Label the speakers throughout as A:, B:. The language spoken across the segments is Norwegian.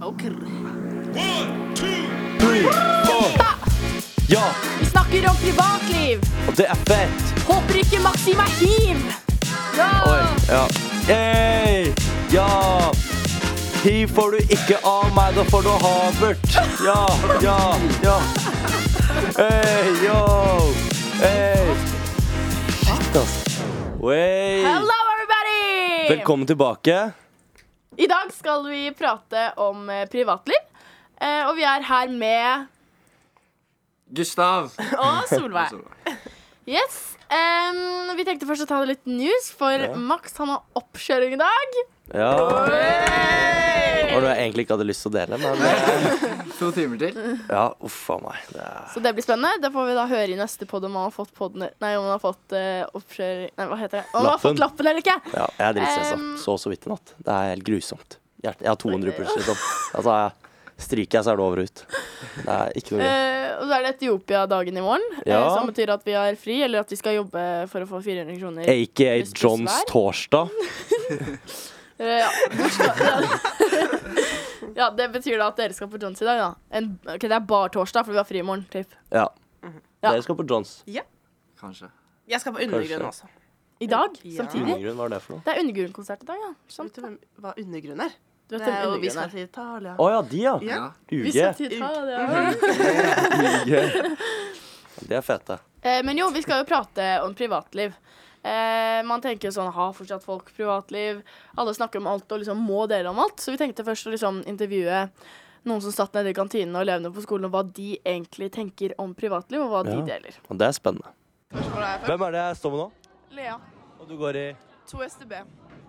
A: Rocker.
B: Three, four. Ja,
A: Vi snakker om privatliv.
B: det er fett.
A: Håper ikke Maxim er hiv. Ja.
B: Oi, ja. Hey, ja. Hiv får du ikke av meg, da får du havert. Ja, ja, ja. Hey, yo. Hey. Shit, ass. Wey.
A: Hello, everybody!
B: Velkommen tilbake.
A: I dag skal vi prate om eh, privatliv. Eh, og vi er her med
C: Gustav.
A: Og Solveig. Yes. em, vi tenkte først å ta det litt news, for Max han har oppkjøring i dag.
B: Ja. Og du jeg egentlig ikke hadde lyst til å dele, men eh,
C: To timer til.
B: ja, uff a meg. Det er
A: Så det blir spennende. Det får vi da høre i neste podd om han har fått podden, Nei, om han har fått eh, oppkjøring Nei, hva heter det? Om han har
B: Lappen.
A: fått lappen eller ikke.
B: Ja, jeg er dritstressa.
A: Em.
B: Sov så vidt i natt. Det er helt grusomt. Hjerte- Jeg har 200 puls, liksom. Altså, jeg stryker jeg, så er det over og ut. Det er ikke noe gøy.
A: Eh, og så er det Etiopia-dagen i morgen, eh,
B: Ja.
A: som betyr at vi har fri, eller at vi skal jobbe for å få 400 kroner.
B: Aka
A: Hvis du
B: Johns
A: svær.
B: torsdag.
A: Eh, ja, bursdag- ja. ja, det betyr da at dere skal på Johns i dag, da. En, ok, det er bare torsdag, for vi har fri i morgen, typ.
B: Ja.
A: Ja.
B: Dere skal på Johns.
C: Kanskje.
D: Jeg skal på undergrunnen også.
A: I dag?
D: Ja.
A: Samtidig?
B: Undergrunn, hva er det for noe?
A: Det er undergrunnkonsert i dag, ja. Sant.
D: Vet du hvem, hva undergrunn er?
A: Du vet
D: Det
A: hvem
D: er jo Vi
A: undergrunn
D: skal
A: er.
D: til Italia.
B: Å ja, de, ja.
D: Ja.
A: Vi
B: UG.
A: skal til Italia.
B: UG. De er fete.
A: Eh, Men jo, vi skal jo prate om privatliv. Eh, man tenker jo sånn Har fortsatt folk privatliv? Alle snakker om alt og liksom må dele om alt. Så vi tenkte først å liksom intervjue noen som satt nede i kantinen og elevene på skolen, og hva de egentlig tenker om privatliv, og hva de
B: Ja.
A: deler.
B: Og det er spennende. Hvem er det jeg står med nå?
E: Lea,
B: Og du går i
E: 2 STB.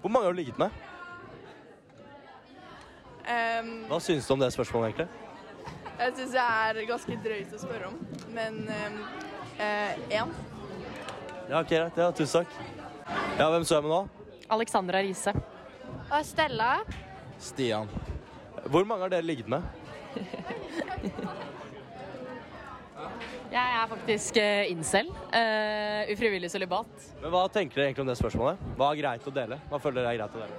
B: Hvor mange har du ligget med?
E: Ehm,
B: Hva syns du om det spørsmålet, egentlig?
E: jeg syns jeg er ganske drøyt å spørre om, men ehm, eh, én.
B: Ja, ok, greit. Ja, tusen takk. Ja, hvem står jeg med nå?
F: Alexandra Riise.
G: Og Stella.
B: Stian. Hvor mange har dere ligget med?
F: Jeg er faktisk eh, incel. eh, ufrivillig sølibat.
B: Men Hva tenker dere egentlig om det spørsmålet? Hva er greit å dele? Hva føler dere er greit å dele?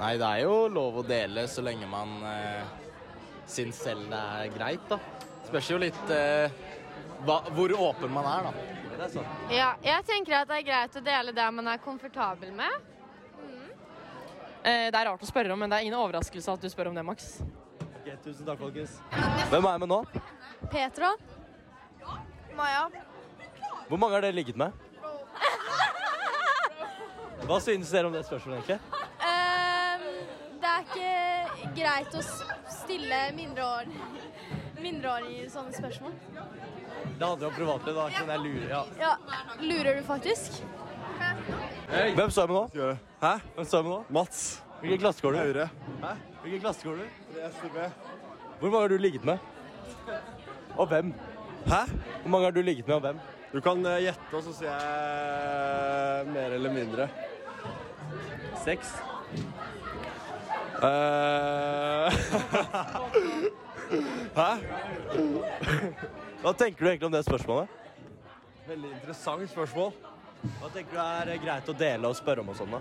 H: Nei, det er jo lov å dele så lenge man eh, syns selv det er greit, da. Spørs jo litt eh, hva, hvor åpen man er, da.
B: Det er sant.
G: Ja, jeg tenker at det er greit å dele det man er komfortabel med.
F: Eh, det er rart å spørre om, men det er ingen overraskelse at du spør om det, Max.
B: Ok, tusen takk, folkens. Hvem er jeg med nå?
G: Petron.
E: Maja.
B: Hvor mange har dere ligget med? Hva synes dere om det spørsmålet, egentlig?
G: Ehm, det er ikke greit å stille mindreårige sånne spørsmål.
B: Det handler om privatliv, da. Ikke den lure, ja.
G: Ja, Lurer du faktisk?
B: Hvem står jeg med nå? Hæ? Hvem står jeg med nå? Mats. Hvilken klasse går du? Høyre. Hæ? Hvilken klasse går du? Hvor mange har du ligget med? Og hvem? Hæ? Hvor mange har du ligget med, og hvem?
I: Du kan eh, gjette, og så sier jeg mer eller mindre.
B: Seks.
I: Eh, Hæ?
B: Hva tenker du egentlig om det spørsmålet?
I: Veldig interessant spørsmål.
B: Hva tenker du er eh, greit å dele og spørre om og sånn, da?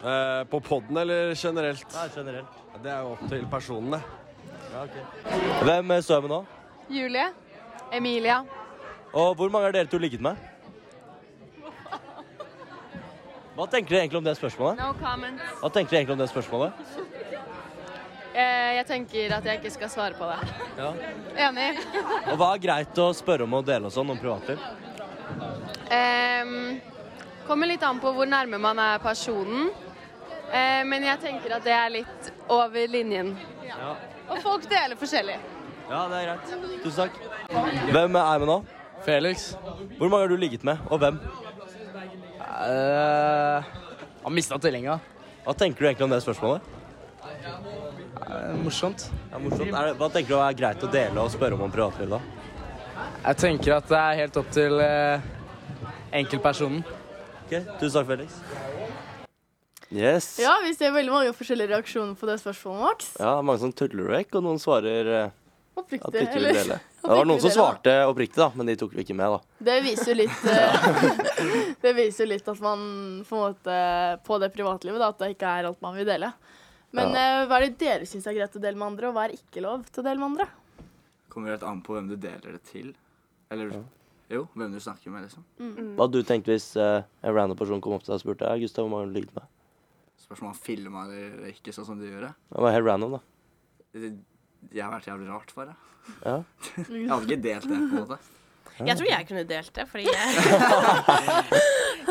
I: Eh, på podden eller generelt?
B: Nei, generelt.
I: Det er jo opp til personene.
B: Hvem eh, står jeg med nå?
G: Julie. Emilia.
B: Og hvor mange har dere to ligget med? Hva tenker dere egentlig om det spørsmålet?
F: No comment.
B: Hva tenker dere egentlig om det spørsmålet?
F: Eh, jeg tenker at jeg ikke skal svare på det.
B: Ja.
F: Enig.
B: Og hva er greit å spørre om og dele og sånn om privatliv?
F: kommer litt an på hvor nærme man er personen. men jeg tenker at det er litt over linjen.
B: Ja.
F: Og folk deler forskjellig.
B: Ja, det er greit. Tusen takk. Hvem er med nå?
H: Felix.
B: Hvor mange har du ligget med, og hvem?
H: Uh, har mista tvillinga.
B: Hva tenker du egentlig om det spørsmålet?
H: Eh, morsomt.
B: Det er morsomt. Er det, hva tenker du er greit å dele og spørre om om privatliv, da?
H: Jeg tenker at det er helt opp til eh, enkeltpersonen.
B: Ok, Tusen takk, Felix. Yes.
A: Ja, vi ser veldig mange forskjellige reaksjoner på det spørsmålet, Max.
B: Ja, mange som tuller vekk, og noen svarer eh,
A: Oppriktig,
B: at de ikke
A: eller-
B: vil dele.
A: at
B: Det
A: de
B: var
A: ikke
B: noen som
A: vil dele, da.
B: svarte oppriktig, da, men de tok vi ikke med, da.
A: Det viser jo litt eh, Det viser jo litt at man på en måte På det privatlivet, da, at det ikke er alt man vil dele. Men eh, hva er det dere syns er greit å dele med andre, og hva er ikke lov til å dele med andre?
C: Kommer helt an på hvem du deler det til. Eller jo, hvem du snakker med, liksom.
A: Mm.
B: Hva hadde du tenkt hvis eh, en random person kom opp til deg og spurte «Hei, Gustav, hvor mange har du ligget med?
C: Spørs om han filma eller ikke, sånn som du gjør det.
B: Det var helt random, da.
C: Jeg har vært jævlig rart, bare.
B: Ja.
C: Jeg hadde ikke delt det, på en måte.
D: Jeg tror jeg kunne delt det, fordi jeg,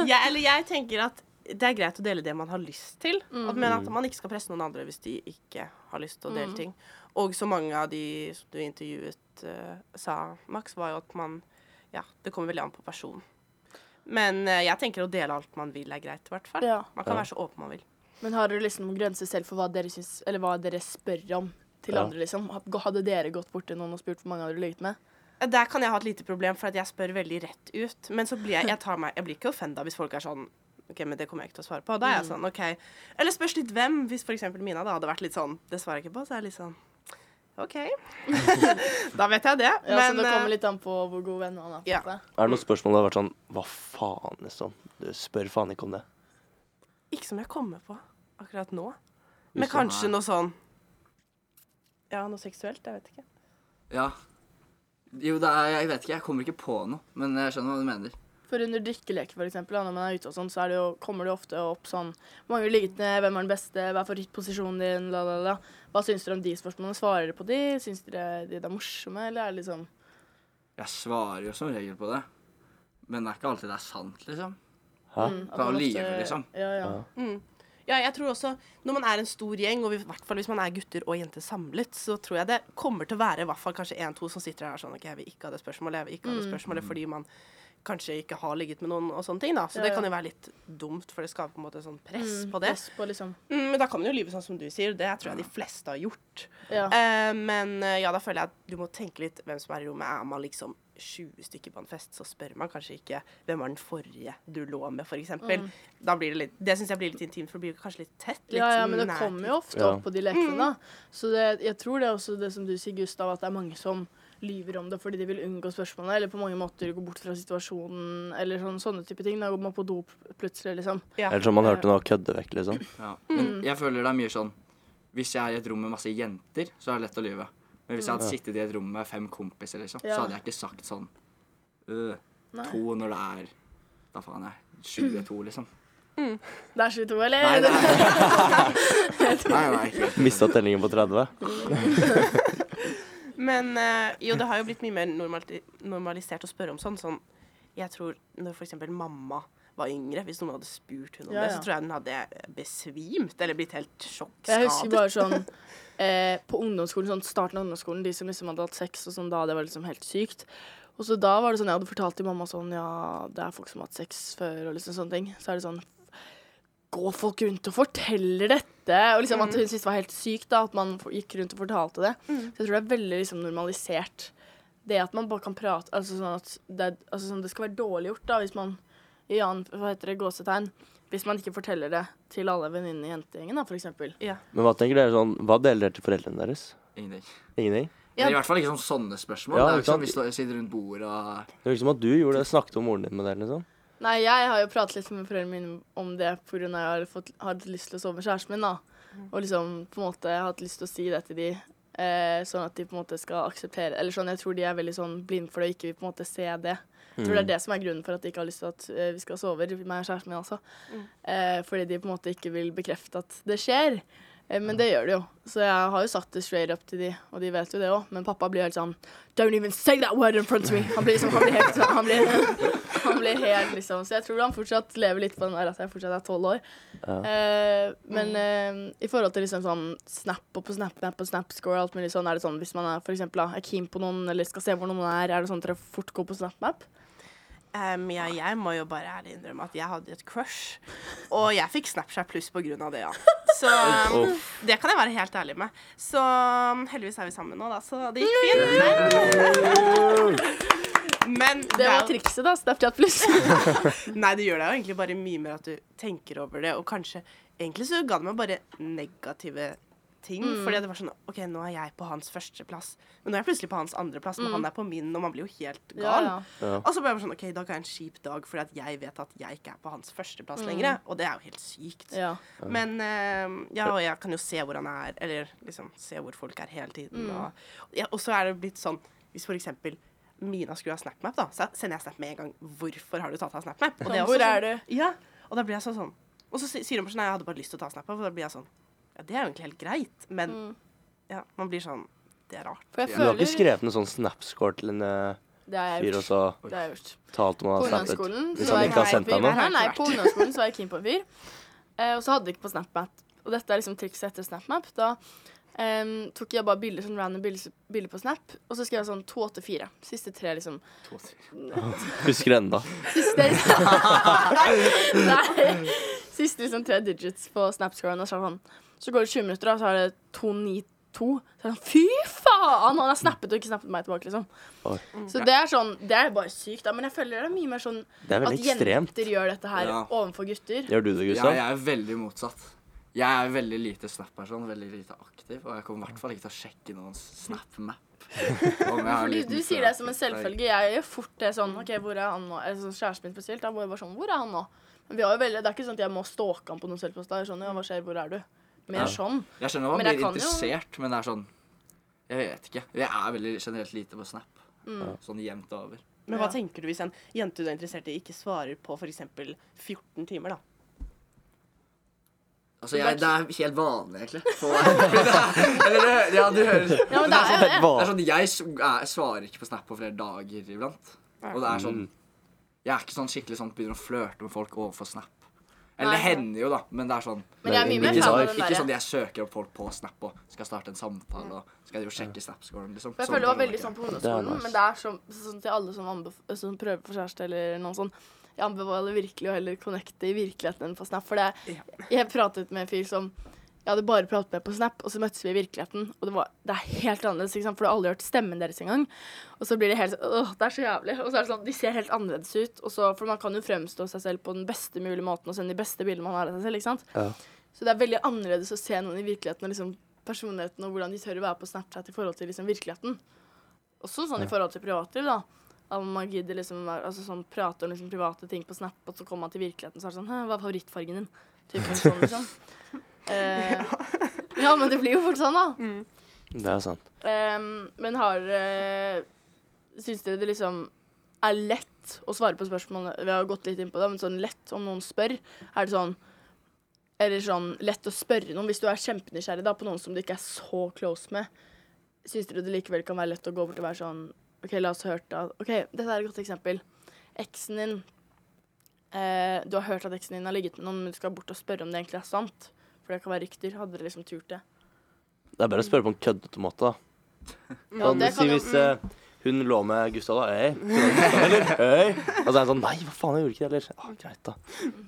D: jeg Eller jeg tenker at det er greit å dele det man har lyst til, at- men at man ikke skal presse noen andre hvis de ikke har lyst til å dele ting. Og så mange av de som du intervjuet eh, sa, Max, var jo at man Ja, det kommer veldig an på personen. Men eh, jeg tenker å dele alt man vil, er greit, i hvert fall.
A: Ja.
D: Man kan
B: Ja.
D: være så åpen man vil.
A: Men har dere liksom noen grenser selv for hva dere, syns, eller hva dere spør om til
B: Ja.
A: andre? liksom? Hadde dere gått bort til noen og spurt hvor mange har dere ligget med?
D: Der kan jeg ha et lite problem, for at jeg spør veldig rett ut. Men så blir jeg, jeg, tar meg, jeg blir ikke offenda hvis folk er sånn OK, men det kommer jeg ikke til å svare på. Da er
A: Mm.
D: jeg sånn, OK. Eller spørs litt hvem. Hvis f.eks. Mina da hadde vært litt sånn Det svarer jeg ikke på. Så er jeg litt sånn OK. da vet jeg det.
A: Ja, så
D: men
A: Det kommer
D: eh,
A: litt an på hvor god venn man er. på en
D: ja.
A: måte.
B: Er det noen spørsmål det har vært sånn Hva faen, liksom? Du spør faen ikke om det.
D: ikke som jeg kommer på akkurat nå. Men kanskje noe sånn Ja, noe seksuelt. Jeg vet ikke.
C: Ja. Jo, det er, jeg vet ikke. Jeg kommer ikke på noe. Men jeg skjønner hva du mener.
A: For under drikkeleker, for eksempel, da, når man er ute og sånn, så er det jo, kommer det jo ofte opp sånn Hvor mange har ligget med? Hvem er den beste? Hva er favorittposisjonen din? La, la, la. Hva syns dere om de spørsmålene? Svarer dere på de? Syns dere de er morsomme, eller er det liksom
C: Jeg svarer jo som regel på det. Men det er ikke alltid det er sant, liksom.
B: Hæ?
A: at man
C: Da
A: ofte-
C: lyver, liksom.
A: Ja, ja.
D: Ja, jeg tror også Når man er en stor gjeng, og i hvert fall hvis man er gutter og jenter samlet, så tror jeg det kommer til å være i hvert fall kanskje én-to som sitter her og er sånn OK, jeg vil ikke ha det spørsmålet, jeg vil ikke ha
A: Mm.
D: det spørsmålet, fordi man kanskje ikke har ligget med noen og sånne ting, da. Så
A: Ja,
D: det
A: ja.
D: kan jo være litt dumt, for det skaper på en måte sånn press
A: Mm,
D: på det.
A: press på, liksom.
D: Mm, men da kan man jo lyve sånn som du sier, det tror jeg de fleste har gjort.
A: Ja.
D: Eh, men eh, ja, da føler jeg at du må tenke litt hvem som er i rommet. Er man liksom 20 stykker på en fest, så spør man kanskje ikke hvem var den forrige du lå med, for eksempel. Da blir det litt Det syns jeg blir litt intimt, for det blir kanskje litt tett. Litt
A: Mm. ja,
D: sånn
A: ja, men det
D: nærhet.
A: kommer jo ofte
B: Ja.
A: opp på de lekene, da. Så det, jeg tror det er også det som du sier, Gustav, at det er mange som lyver om det fordi de vil unngå spørsmålene, eller på mange måter gå bort fra situasjonen, eller sånn, sånne type ting. Da går man på do pl- plutselig, liksom.
B: Eller sånn- som man hørte nå, kødde vekk, liksom.
C: Ja.
A: Mm.
C: Men jeg føler det er mye sånn Hvis jeg er i et rom med masse jenter, så er det lett å lyve. Men hvis jeg
B: Mm.
C: hadde sittet i et rom med fem kompiser, liksom, så
A: Ja.
C: hadde jeg ikke sagt sånn øh, To når det er Da faen jeg 22, liksom.
A: Det er 22, eller?
C: Nei, nei, nei. nei, nei ikke.
B: Mista tellingen på 30.
D: Men eh, jo, det har jo blitt mye mer normali normalisert å spørre om sånn. sånn jeg tror når f.eks. mamma var yngre, hvis noen hadde spurt hun om
A: Ja,
D: det,
A: ja.
D: så tror jeg hun hadde besvimt eller blitt helt sjokkskadet.
A: Jeg husker bare sånn eh, på ungdomsskolen, sånn starten av ungdomsskolen, de som liksom hadde hatt sex og sånn da, det var liksom helt sykt. Og så da var det sånn, jeg hadde fortalt til mamma sånn, ja, det er folk som har hatt sex før og liksom sånne ting. Så er det sånn, går folk rundt og forteller dette? Og liksom at hun syntes det var helt sykt da, at man f- gikk rundt og fortalte det. Så jeg tror det er veldig liksom normalisert. Det at man bare kan prate, altså sånn at det, er- altså sånn, det skal være dårlig gjort da, hvis man, i annen, hva heter det, gåsetegn, hvis man ikke forteller det til alle venninnene i jentegjengen da, for eksempel.
B: Men hva tenker dere sånn Hva deler dere til foreldrene deres?
C: Ingenting.
B: Ingenting?
C: Men I hvert fall ikke sånn sånne spørsmål.
B: Ja,
C: det er
B: ikke
C: jo ikke
B: sant?
C: sånn vi står, sitter rundt bordet og
B: Det virker som at du gjorde det, snakket om moren din med det, liksom.
A: Nei, jeg har jo pratet litt med foreldrene mine om det pga. jeg har fått har hatt lyst til å sove med kjæresten min. da. Og liksom på en måte hatt lyst til å si det til de, eh, sånn at de på en måte skal akseptere Eller sånn, jeg tror de er veldig sånn blind for det og ikke vil på en måte se det. Jeg tror det er det som er grunnen for at de ikke har lyst til at eh, vi skal sove, meg og kjæresten min altså. Eh, fordi de på en måte ikke vil bekrefte at det skjer. Eh, Men det gjør det jo. Så jeg har jo satt det straight up til de, og de vet jo det òg. Men pappa blir helt sånn Don't even say that word in front of me! Han blir liksom, han blir helt sånn han blir, han blir helt liksom Så jeg tror han fortsatt lever litt på den der at jeg fortsatt er tolv år. Eh, men eh, i forhold til liksom sånn snap og på SnapMap og SnapScore og alt mulig sånn, er det sånn hvis man er for eksempel, da, er keen på noen eller skal se hvor noen er, er det sånn at dere fort går på SnapMap?
D: Em, ja, jeg må jo bare ærlig innrømme at jeg hadde et crush. Og jeg fikk Snapchat pluss på grunn av det, ja. Så em, det kan jeg være helt ærlig med. Så em, heldigvis er vi sammen nå, da, så det gikk fint. Men
A: Det var
D: er jo-
A: trikset, da. Snapchat pluss.
D: Nei, det gjør deg jo egentlig bare mye mer at du tenker over det, og kanskje Egentlig så ga det meg bare negative ting.
A: Mm.
D: Fordi det var sånn OK, nå er jeg på hans førsteplass, men nå er jeg plutselig på hans andreplass, men han er på min, og man blir jo helt
A: Mm. Ja,
D: gal.
A: ja.
B: Ja.
D: Og så ble jeg bare sånn OK, i dag er en kjip dag, fordi at jeg vet at jeg ikke er på hans førsteplass lenger. Og det er jo helt sykt.
A: Mm. ja.
D: Men eh, ja, og jeg kan jo se hvor han er, eller liksom se hvor folk er hele tiden.
A: Mm.
D: Og, ja, og så er det blitt sånn, hvis for eksempel Mina skulle ha SnapMap, da, så sender jeg Snap med en gang. Hvorfor har du tatt av SnapMap? Og
A: Sånn, hvor er
D: sånn, Ja, og da blir jeg sånn sånn. Og så si- sier hun bare sånn, «Nei, jeg hadde bare lyst til å ta SnapMap, og da blir jeg sånn, ja, det er jo egentlig helt greit, men ja, man blir sånn, det er rart.
A: For jeg
B: Du har ikke
A: føler
B: skrevet noe sånn snapscore til en eh,
A: Det har jeg
B: fyr, og
A: gjort.
B: så
A: Det har jeg gjort.
B: talt om
A: På
B: han har snappet?
A: ungdomsskolen
B: Hvis
A: så var
B: han
A: jeg
B: ikke har
A: keen på
B: sendt
A: en fyr.
B: deg noe?
A: Nei, nei,
D: Har ikke
A: på ungdomsskolen så var jeg keen på en fyr. Eh, og så hadde jeg ikke på SnapMap. Og dette er liksom trikset etter SnapMap. Da em, tok jeg bare bilder, sånn random bilder, bilder på Snap, og så skrev jeg sånn 284. Siste tre, liksom.
B: Husker du ennå?
A: Siste Nei. Siste liksom tre digits på Snapscoren. Og så, er det sånn. så går det 20 minutter, og så er det 292. Så er det sånn, Fy faen! Han har snappet og ikke snappet meg tilbake, liksom.
B: Oi.
A: Så det er sånn Det er bare sykt, da. Men jeg føler det er mye mer sånn
B: Det er
A: at
B: veldig ekstremt.
A: jenter gjør dette her
C: Ja.
A: overfor gutter.
B: Gjør du det,
C: Ja,
B: Gustav?
C: jeg er veldig motsatt. Jeg er veldig lite Snap-person, veldig lite aktiv, og jeg kommer i hvert fall ikke til å sjekke noens Snap-map.
A: Fordi du sier det som en selvfølge. Jeg gjør fort det sånn OK, hvor er han nå? Eller sånn, kjæresten min spesielt. Da var jeg bare sånn Hvor er han nå? Men vi har jo veldig, det er ikke sånn at jeg må stalke han på noen selvpost. Det er sånn, ja, hva skjer, hvor er du? Mer
C: Ja.
A: sånn.
C: Jeg skjønner at
A: Men
C: man
A: jeg
C: blir
A: kan jo-
C: interessert, men det er sånn Jeg vet ikke. Jeg er veldig generelt lite på Snap.
A: Mm.
C: Sånn jevnt over.
D: Men hva
A: Ja.
D: tenker du hvis en jente du er interessert i ikke svarer på for eksempel 14 timer da?
C: Altså, jeg, det er helt vanlig, egentlig. For meg. Eller, det- ja, du hører
A: Ja, men det er jo det.
C: Det er sånn, Jeg s- er, svarer ikke på Snap på flere dager iblant. Og det er sånn Jeg er ikke sånn skikkelig sånn begynner å flørte med folk overfor Snap. Eller det
A: Nei.
C: hender jo, da, men det er sånn
A: Men jeg er mye mer
C: Ikke
A: fan
C: sånn,
A: av den
C: ikke sånn
A: derre.
C: at jeg søker opp folk på Snap og skal starte en samtale og skal jo sjekke Snap-scoren. Liksom.
A: For jeg
C: Sånn
A: føler det var
C: kan
A: veldig
C: ikke
A: sånn på
B: Det er
A: ungdomsskolen,
B: nice.
A: men det er sånn, sånn til alle som, anbef- som prøver på kjæreste eller noe sånt. Jeg anbefaler virkelig å heller connecte i virkeligheten enn på Snap. For det, jeg pratet med en fyr som jeg hadde bare pratet med på Snap, og så møttes vi i virkeligheten. Og det, var, det er helt annerledes, ikke sant? for du har aldri hørt stemmen deres engang. Og så blir det helt sånn Åh, det er så jævlig. Og så er det sånn, de ser helt annerledes ut. Og så, for man kan jo fremstå seg selv på den beste mulige måten og sende de beste bildene man har av seg selv, ikke sant.
B: Ja.
A: Så det er veldig annerledes å se noen i virkeligheten og liksom personligheten og hvordan de tør å være på Snapchat i forhold til liksom virkeligheten. Også sånn i forhold til privatliv, da. At man gidder liksom være- altså sånn, prate om liksom private ting på Snap, og så kommer man til virkeligheten, så er det sånn «Hæ, Hva er favorittfargen din? Typen sånn, liksom. Eh, ja, men det blir jo fort sånn, da.
B: Det er sant.
A: Ehm, men har uh, Syns dere det liksom er lett å svare på spørsmålene? Vi har gått litt inn på det, men sånn lett om noen spør. Er det sånn Eller sånn lett å spørre noen hvis du er kjempenysgjerrig da, på noen som du ikke er så close med? Syns dere det likevel kan være lett å gå bort og være sånn OK, la oss høre da. OK, dette er et godt eksempel. Eksen din eh, Du har hørt at eksen din har ligget med noen, men du skal bort og spørre om det egentlig er sant. For det kan være rykter. Hadde dere liksom turt det?
B: Det er bedre å spørre på en køddete måte, da.
A: Ja,
B: Sånn, si hvis eh, hun lå med Gustav, da. Hei, kunne du hatt Gustav, eller? Hei. Og så er han sånn Nei, hva faen, jeg gjorde ikke det, eller? Ah, greit, da.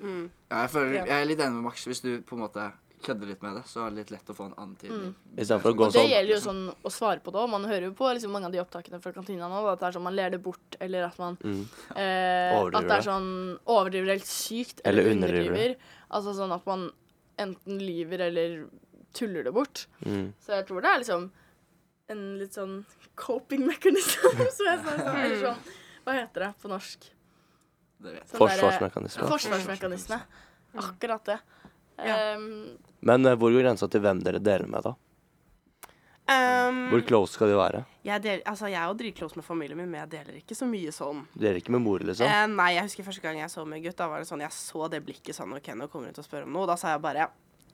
C: Ja, jeg, føler, jeg er litt enig med Max. Hvis du på en måte kødder litt med det, så er det litt lett å få en antydning.
B: Istedenfor å gå
A: Og det
B: sånn.
A: gjelder jo sånn å svare på det òg. Man hører jo på liksom, mange av de opptakene fra kantina nå at det er sånn man ler det bort, eller at man eh,
B: Mm.
A: At
B: Overdriver
A: det
B: det.
A: er sånn overdriver helt sykt,
B: Eller
A: eller
B: underdriver det.
A: underdriver. Altså sånn at man enten lyver eller tuller det bort.
B: Mm.
A: Så jeg tror det er liksom en litt sånn coping mechanism, som jeg sa. Sånn, eller sånn Hva heter det på norsk?
C: Det vet jeg.
A: Sånn derre-
B: Forsvarsmekanisme.
A: Forsvarsmekanisme. Akkurat det. Ehm,
B: Men eh, hvor går grensa til hvem dere deler med, da?
D: Um,
B: Hvor close skal de være?
D: Jeg, del, altså, jeg er jo dritclose med familien min, men jeg deler ikke så mye sånn.
B: Du deler ikke med mor, liksom?
D: Eh, nei, jeg husker første gang jeg så med en gutt, da var det sånn, jeg så det blikket sånn, ok, nå kommer hun til å spørre om noe. Da sa jeg bare,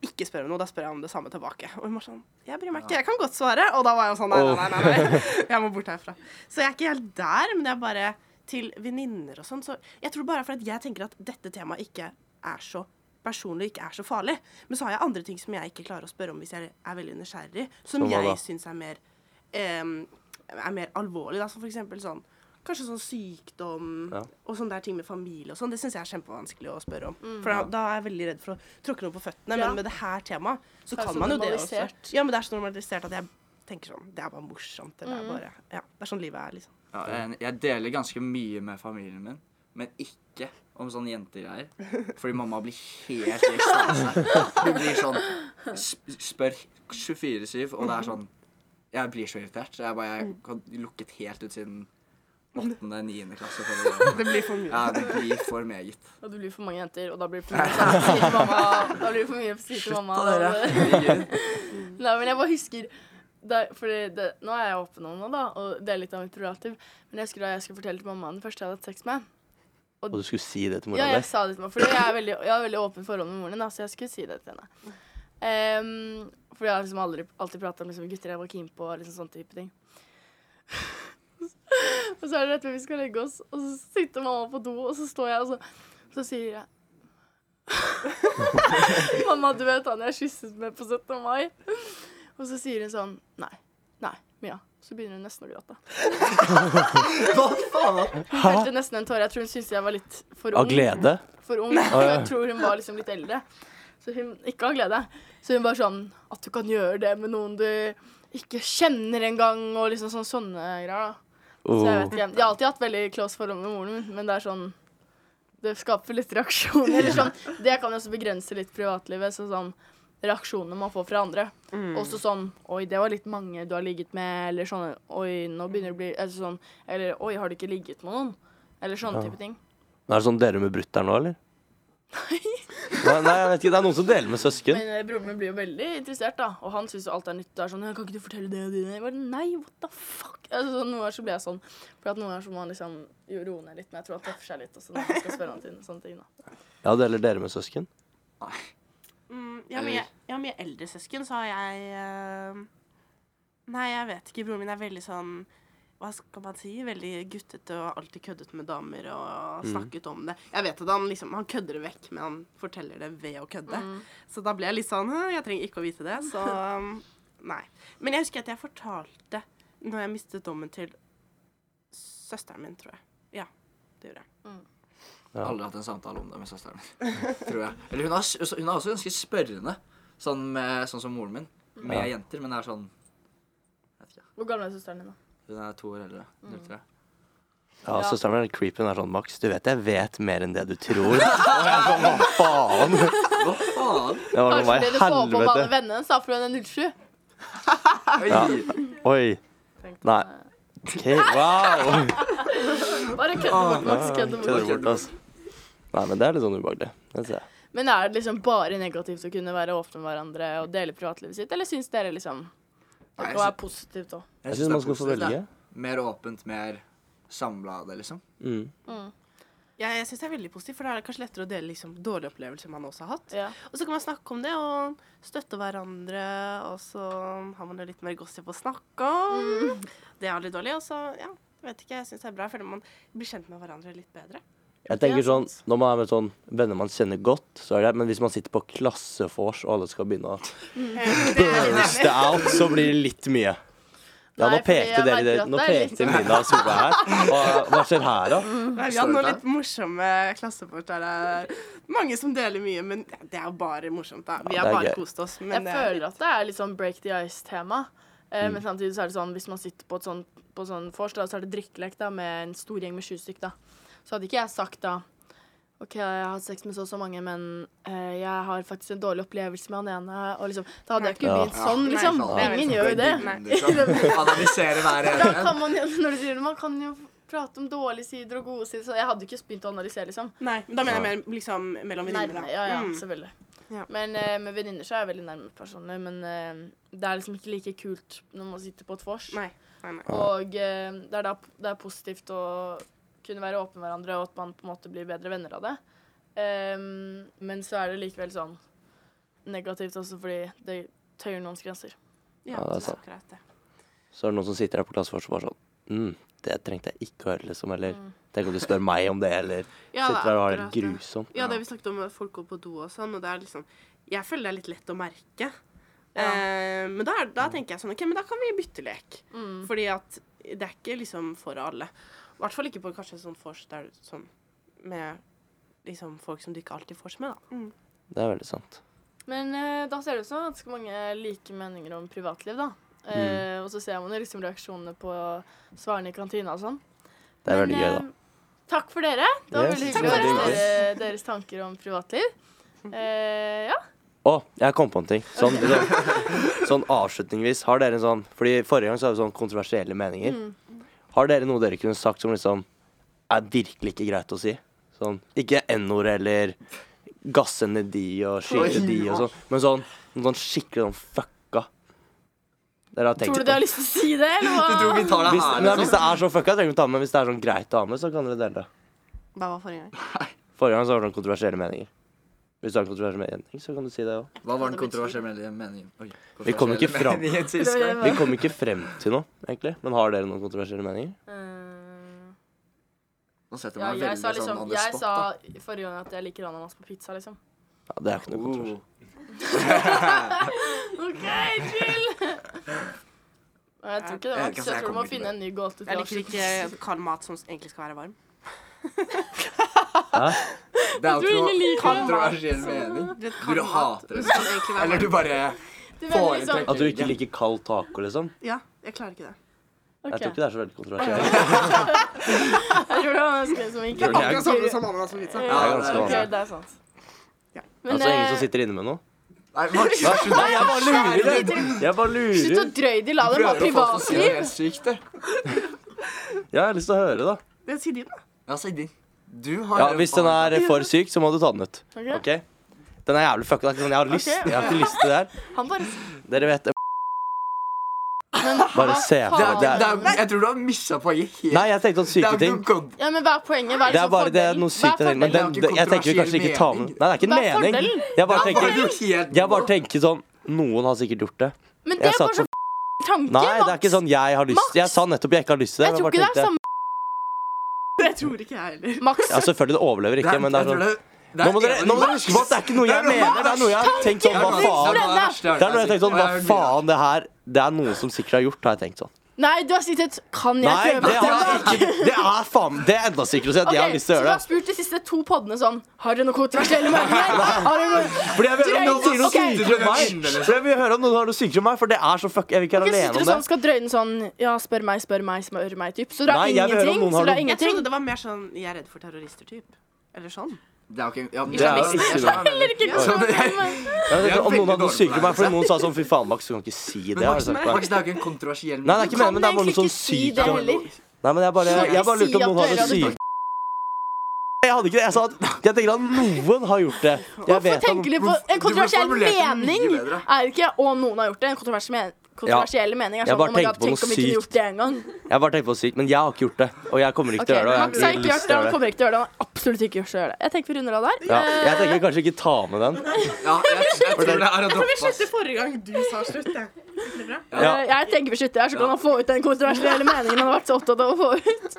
D: ikke spør om noe, da spør jeg om det samme tilbake. Og hun var sånn, jeg bryr meg ikke, jeg kan godt svare. Og da var jeg sånn, nei, nei, nei, nei, nei. jeg må bort herfra. Så jeg er ikke helt der, men jeg er bare til veninner og sånn. Så jeg tror bare for at jeg tenker at dette temaet ikke er så personlig, ikke er så farlig. Men så har jeg andre ting som jeg ikke klarer å spørre om hvis jeg er veldig nysgjerrig, som
B: Som hva da?
D: jeg syns er mer em, er mer alvorlig, da, som for eksempel sånn Kanskje sånn sykdom
B: Ja.
D: og sånne der ting med familie og sånn. Det syns jeg er kjempevanskelig å spørre om. For da, da er jeg veldig redd for å tråkke noe på føttene.
A: Mm. Ja.
D: Men med det her temaet så
A: Det er
D: kan
A: så
D: man jo det også.
A: normalisert.
D: Ja, men det er så normalisert at jeg tenker sånn Det er bare morsomt. Det
A: Mm.
D: er bare Ja, det er sånn livet er, liksom.
C: Ja, jeg, jeg deler ganske mye med familien min, men ikke om sånne jentegreier. Fordi mamma blir helt i ekstase. Hun blir sånn sp- spør 24-7, og det er sånn Jeg blir så irritert. Så jeg bare jeg kan lukket helt ut siden 8.-9. klasse. for å-
D: Det blir for mye.
C: Ja, det blir for meget.
A: Og det blir for mange jenter, og da blir det for mye å si til mamma. Da blir det for mye å si til mamma.
C: Slutt da,
A: Nei, men jeg bare husker da, fordi det, Nå er jeg åpen om det, da, og det er litt av mitt privatliv. Men jeg husker da jeg skulle fortelle til mamma den første jeg hadde hatt sex med.
B: Og du skulle si det til mora
A: Ja,
B: di?
A: jeg sa det til meg, fordi jeg, er veldig, jeg har veldig åpen forhold med moren din, da, så jeg skulle si det til henne. Ehm, fordi jeg har liksom aldri, alltid prata om liksom, gutter jeg var keen på, og liksom sånne type ting. og så er det rett før vi skal legge oss, og så sitter mamma på do, og så står jeg, og så, så sier jeg Mamma, du vet han jeg kysset med på 17. mai? Og så sier hun sånn Nei. Nei, Mia. Så begynner hun nesten å gråte.
C: Hva faen?
A: Hun felte nesten en tåre. Jeg tror hun syntes jeg var litt for ung
B: Av glede?
A: for ung. Og jeg tror hun var liksom litt eldre. Så hun ikke har glede. Så hun bare sånn At du kan gjøre det med noen du ikke kjenner engang, og liksom sånn, sånne greier. da. Så jeg vet
B: Oh.
A: ikke. Jeg har alltid hatt veldig close forhold med moren min, men det er sånn Det skaper litt reaksjoner. Eller sånn, det kan jo også begrense litt privatlivet. Så sånn reaksjonene man får fra andre. Også sånn Oi, det var litt mange du har ligget med, eller sånn Oi, nå begynner det å bli Eller sånn Eller Oi, har du ikke ligget med noen? Eller sånne
B: Ja.
A: type ting.
B: Er det sånn dere med brutter'n nå, eller? Nei. Nei, jeg vet ikke. Det er noen som deler med søsken.
A: Men eh, broren min blir jo veldig interessert, da. Og han syns jo alt er nytt. Det er sånn, «Ja, 'Kan ikke du fortelle det og det?' Jeg bare, Nei, what the fuck? Altså, sånn, noen ganger så blir jeg sånn. For at noen ganger så må han liksom jo roe ned litt. Men jeg tror han tøffer seg litt også når han skal spørre om ting- sånne ting. da.
B: Ja, deler dere med søsken?
D: Mm, jeg, har mye, jeg har mye eldre søsken, så har jeg eh, Nei, jeg vet ikke. Broren min er veldig sånn hva skal man si? Veldig guttete og alltid køddet med damer og snakket om det. Jeg vet at han liksom, han kødder det vekk, men han forteller det ved å kødde. Så da ble jeg litt sånn «Hæ, Jeg trenger ikke å vite det, så um, nei. Men jeg husker at jeg fortalte når jeg mistet dommen til søsteren min, tror jeg. Ja, det gjorde jeg.
B: Ja.
C: Aldri hatt en samtale om det med søsteren min. Tror jeg. Eller hun er, s- hun er også ganske spørrende, sånn, med, sånn som moren min, med
B: Ja.
C: jenter. Men det er sånn jeg vet ikke.
A: Hvor gammel er søsteren din, da?
C: Hun er to år eldre. 03.
B: Ja,
A: Ja.
B: søsteren min er creepy. Hun er sånn Max, du vet jeg vet mer enn det du tror. Og jeg er sånn, hva faen?
C: Hva faen?
B: Jeg var sånn, hva
A: Kanskje
B: i
A: det du får på med alle
B: helvete?
A: vennene hennes, da, for hun er 07.
B: Ja.
C: Oi.
B: Oi. Nei. Ok, wow.
A: Bare kødde bort, Max. Kødde
B: Kødder
A: bort.
B: Ah, bort, altså. Nei, men det er litt sånn ubehagelig. Det ser jeg.
A: Men er det liksom bare negativt å kunne være åpne med hverandre og dele privatlivet sitt, eller syns dere liksom at
C: Nei,
A: det
C: jeg
A: kan være
C: sy-
A: positivt òg?
B: Jeg
C: synes
B: syns man
C: det er
B: skal få
C: positivt,
B: velge.
C: det. Mer åpent, mer samla det, liksom.
B: Mm.
D: Jeg, jeg syns det er veldig positivt, for da er det kanskje lettere å dele liksom, dårlige opplevelser man også har hatt.
A: Ja.
D: Og så kan man snakke om det og støtte hverandre, og så har man jo litt mer gossip å snakke om.
A: Mm.
D: Det er aldri dårlig. Og så, ja, jeg vet ikke, jeg syns det er bra. Jeg føler man blir kjent med hverandre litt bedre.
B: Jeg tenker sånn, Når man er med sånn venner man kjenner godt, så er det Men hvis man sitter på klassefors og alle skal begynne å
A: Mm.
B: burste out, så blir det litt mye. Ja,
A: Nei,
B: nå
A: fordi
B: pekte
A: jeg
B: dere
A: merker
B: dere-
A: at
B: Nå
A: det er litt Mm.
B: pekte Mina og Solveig her. Hva, hva skjer her, da?
D: Nei,
C: Står
D: vi hadde
C: det
D: noen
C: der?
D: litt morsomme klassefort der det er mange som deler mye, men det er jo bare morsomt, da. Vi
B: Ja,
D: har
B: det er gøy.
D: bare kost oss.
A: Jeg
D: Men eh, det er
A: føler at det er litt sånn break the ice-tema. Eh, Men samtidig så er det sånn hvis man sitter på et sånn, på sånn vors, da, så er det drikkelek da, med en stor gjeng med 20 stykk, da. Så hadde ikke jeg sagt da OK, jeg har hatt sex med så og så mange, men eh, jeg har faktisk en dårlig opplevelse med han ene. Og liksom, da hadde jeg ikke
B: Ja.
A: begynt sånn,
D: Nei,
A: liksom.
D: faen. Nei,
A: Ingen
D: faen.
A: gjør jo det.
D: Nei.
C: Liksom. Analysere hver
A: Da
C: ene.
A: kan man, jo- når du sier det, man kan jo prate om dårlige sider og gode sider, så jeg hadde ikke begynt å analysere, liksom.
D: Nei, men da mener jeg mer liksom mellom venninner.
A: Nærme,
D: da.
A: ja, ja,
D: Mm.
A: selvfølgelig.
D: Ja.
A: Men eh, med venninner så er jeg veldig nærme personlig, men eh, det er liksom ikke like kult når man sitter på et vors.
D: Nei, nei, nei.
A: Og eh, det, er da, det er positivt å kunne være åpen med hverandre, og at man på en måte blir bedre venner av det. Ehm, men så er det likevel sånn negativt også, fordi det tøyer noens grenser.
D: Ja,
B: Ja, det er
D: det er
B: sant.
D: Akkurat det.
B: Så er det noen som sitter der på klassefors og bare sånn mm, Det trengte jeg ikke å høre, liksom. Eller
A: Mm.
B: tenk om du spør meg om det, eller
D: Ja, det er
B: sitter der og har det
D: akkurat det.
B: grusomt.
D: Ja, det vi snakket om at folk går på do og sånn, og det er liksom Jeg føler det er litt lett å merke.
A: Ja. Mm.
D: Eh, men da, er, da tenker jeg sånn OK, men da kan vi bytte lek. Fordi at det er ikke liksom for alle. I hvert fall ikke på kanskje sånn vors der sånn med liksom folk som du ikke alltid vors med, da.
A: Mm.
B: Det er veldig sant.
A: Men eh, da ser det ut som ganske mange like meninger om privatliv, da.
D: Mm.
A: Eh, og så ser man jo liksom reaksjonene på svarene i kantina og sånn.
B: Det er veldig
A: Men,
B: gøy, da.
A: eh, Takk for dere. Det var
B: Yes,
A: veldig
B: takk
A: hyggelig å
B: for
A: høre dere,
B: dere.
A: deres tanker om privatliv. Eh, ja.
B: Å, jeg kom på en ting. Sånn, sånn, sånn avslutningsvis. Har dere en sånn Fordi forrige gang så hadde vi sånn kontroversielle meninger.
A: Mm.
B: Har dere noe dere kunne sagt som liksom er virkelig ikke greit å si? Sånn ikke n-ord eller gasse ned de og skyte de og sånn, men sånn, noe sånn skikkelig sånn fucka. Dere har tenkt
A: Tror
B: på
A: du de har lyst til å si det, eller hva?
C: Du tror vi tar det
B: hvis,
C: her,
B: men hvis
C: liksom?
B: det er sånn fucka, trenger du ikke ta med. men Hvis det er sånn greit å ha med, så kan dere dele det.
D: Hva var forrige gang?
B: Forrige gang så var det sånn kontroversielle meninger. Hvis du har en kontroversiell mening, så kan du si det òg.
C: liksom? Hva var den kontroversielle meningen? Oi,
B: Vi kommer ikke
C: kontroversielle
B: fram.
C: meningen sist gang.
B: Vi kom ikke frem til noe, egentlig. Men har dere noen kontroversielle meninger?
A: Eh,
C: Nå setter
A: ja,
C: man
A: jeg
C: veldig
A: sa
C: sånn
A: liksom
C: on the
A: Jeg
C: spot,
A: sa
C: da.
A: forrige gang at jeg liker ananas på pizza, liksom.
B: Ja, det er ikke noe kontroversielt.
C: Oh.
A: OK, chill! Jeg tror ikke det var
C: Jeg vet
A: så
C: ikke, altså,
A: Jeg
C: jeg
A: tror du må
C: kommer ikke på
A: finne
C: det.
A: en ny gåte til
D: Jeg liker ikke kald mat som egentlig skal være varm.
C: Det er jo
A: ingen
C: ikke noe
A: liker det.
C: kontroversiell mening.
D: Du
C: Du
D: vet, kald mat
C: hater det.
D: som egentlig være
C: Eller
D: varm.
C: du bare
A: Du mener liksom
C: foretrekker
B: At du ikke liker kald taco, liksom?
D: Ja, jeg klarer ikke det.
A: Ok.
B: Jeg tror ikke det er så veldig kontroversielt.
A: Jeg tror det var mennesker som ikke
B: Tror du det er-
D: som ananas på pizza.
A: Ja,
C: Ja,
B: det er ganske
A: ok,
B: vanlig.
A: det er sant.
D: Ja.
A: Men,
B: Altså ingen som
A: eh,
B: sitter inne med noe?
C: Nei, Max, vær så snill.
B: jeg bare lurer! Jeg bare
A: Slutt å
B: lurer.
A: drøye de, la
C: Du
A: dem ha
C: prøver å få oss til å si noe
A: privatliv.
C: helt sykt, du.
B: Jeg har lyst til å høre, da.
D: Det sier din, da.
C: Ja, si din. Du har
B: Ja, Hvis den er for syk, så må du ta den ut.
A: Ok.
B: OK? Den er jævlig fucka. det er ikke sånn Jeg har lyst Jeg har ikke lyst til det her.
A: Han bare
B: Dere vet Bare se på
C: det
B: det. det
C: er, det
B: er,
C: er, Jeg tror du har missa poenget helt.
B: nei, jeg tenkte sånn
C: det
B: syke
C: er jo
B: ting.
C: ikke noe
A: Ja, men hva er poenget? Hva er
B: Det er
A: liksom
B: bare det er
A: fordelen? Hva
B: noe
A: er
B: sykt. jeg tenker, Men
A: fordelen?
B: den,
C: Det er jo ikke
B: den, jeg tenker vi kanskje ikke tar med Nei, det
C: kontroversiell
B: er ikke
A: Hva
B: en
A: er
B: mening.
A: fordelen?
B: Jeg bare
C: Det er
B: tenker
C: bare helt
B: Jeg bare tenker sånn Noen har sikkert gjort det.
A: Men det
B: Jeg
A: er
B: satt
A: bare så tanke,
B: Nei, det er ikke sånn jeg har lyst Jeg sa nettopp jeg ikke har lyst til
A: Jeg
B: det. men
A: tror
B: bare
A: ikke det er sånn
B: tenkte-
A: samme
D: Det tror ikke jeg heller.
A: Max.
B: Ja, selvfølgelig, det overlever ikke, men det er
C: jeg
B: sånn
C: tror det- det er
B: Nå må dere,
C: en-
B: nå må dere huske på at det er ikke noe jeg
C: Det er noe-
B: mener, det er noe jeg har tenkt sånn, hva faen.
A: det er det
C: verste jeg har
B: Det er noe jeg
C: hørt.
B: har tenkt sånn, hva
C: Jeg har hørt mye.
B: faen, det her Det er noe som sikkert har gjort, har jeg tenkt sånn.
A: Nei, du har sittet Kan jeg
B: Nei,
A: prøve?
B: det er ikke Det er faen Det er enda sikrere å si at jeg har lyst til å
A: så du
B: gjøre
A: har
B: det.
A: spurt de siste to poddene sånn Har dere noe kontroversielle meninger? Har dere noe
B: Fordi jeg vil høre om noen
A: Drøyt,
B: sier noe
A: ok.
B: sykere enn meg. For Jeg vil høre om noen har noe sykere enn meg, for det er så fuck Jeg vil ikke
A: Ok,
B: være
A: sitter
B: alene
A: du
B: om det.
A: sånn, skal drøye den sånn Ja, spør meg, spør meg, spør meg, typ Så du har
B: Nei, jeg vil høre om
A: ingenting? Så
B: noen har
A: du har
B: noe-
D: Jeg
A: ingenting?
D: trodde det var mer sånn jeg er redd for terrorister-typ. Eller sånn.
C: Det er jo ikke ja, men
B: Det er jo
C: jeg- jeg
B: ikke
C: skjønner hva jeg mener. Så det-
B: Jeg vet
C: Jeg
B: ikke
C: er
B: om noen hadde
C: veldig
B: noe
C: dårlig på
B: sykere enn meg,
C: det.
B: fordi noen sa sånn fy faen, Max, du kan ikke si det. altså.
C: Men
B: har jeg sagt til meg.
C: Max, Max, det er jo ikke en kontroversiell
B: Nei, det er ikke meningen, men det er bare
A: egentlig
B: noe sånn
A: ikke si
B: sykt.
A: det heller.
B: Nei, men jeg bare,
A: Så
B: jeg bare
A: ikke
B: lurte
A: si
B: om
A: at
B: noen hadde
A: dere hadde
B: sykt. Jeg hadde ikke det. Jeg sa at jeg tenker at noen har gjort det. Jeg vet
A: Hvorfor
B: om-
A: tenker du på En
C: Du burde
A: kontroversiell
C: formulert det
A: mening
C: mye bedre.
A: er ikke Å, noen har gjort det. En kontroversiell, men kontroversiell mening er
B: Jeg
A: sånn
B: bare
A: oh my god,
B: tenkte på
A: Tenk om
B: noe
A: ikke du
B: sykt.
A: gjort det engang.
B: Jeg bare tenker på sykt, men jeg har ikke gjort det. Og jeg kommer ikke
A: Okay,
B: til å gjøre det. Og
A: Max har
B: jeg har
A: ikke
B: ikke
A: gjort
B: lyst
A: det, han
B: til å gjøre det.
A: kommer ikke til å gjøre det. Han har absolutt ikke lyst til å gjøre det. Jeg tenker vi runder av der.
B: Ja, jeg tenker kanskje ikke ta med den.
C: Ja, jeg, jeg tror det er å droppe ass.
D: forrige gang du sa slutt, jeg.
B: Ja,
A: Eh, Jeg tenker vi slutter her, så kan han få ut den kontroversielle meningen han har vært så opptatt av å få ut.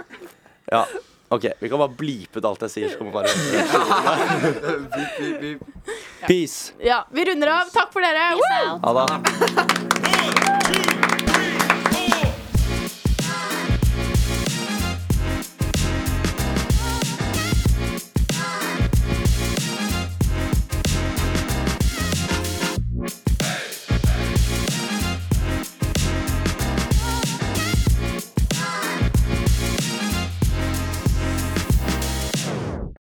B: ja. OK, vi kan bare blipe ut alt jeg sier. Så kan man bare
C: Bip, bip, bip.
B: Peace.
A: Ja, vi runder av. Takk for dere. Woo!
B: Ha det.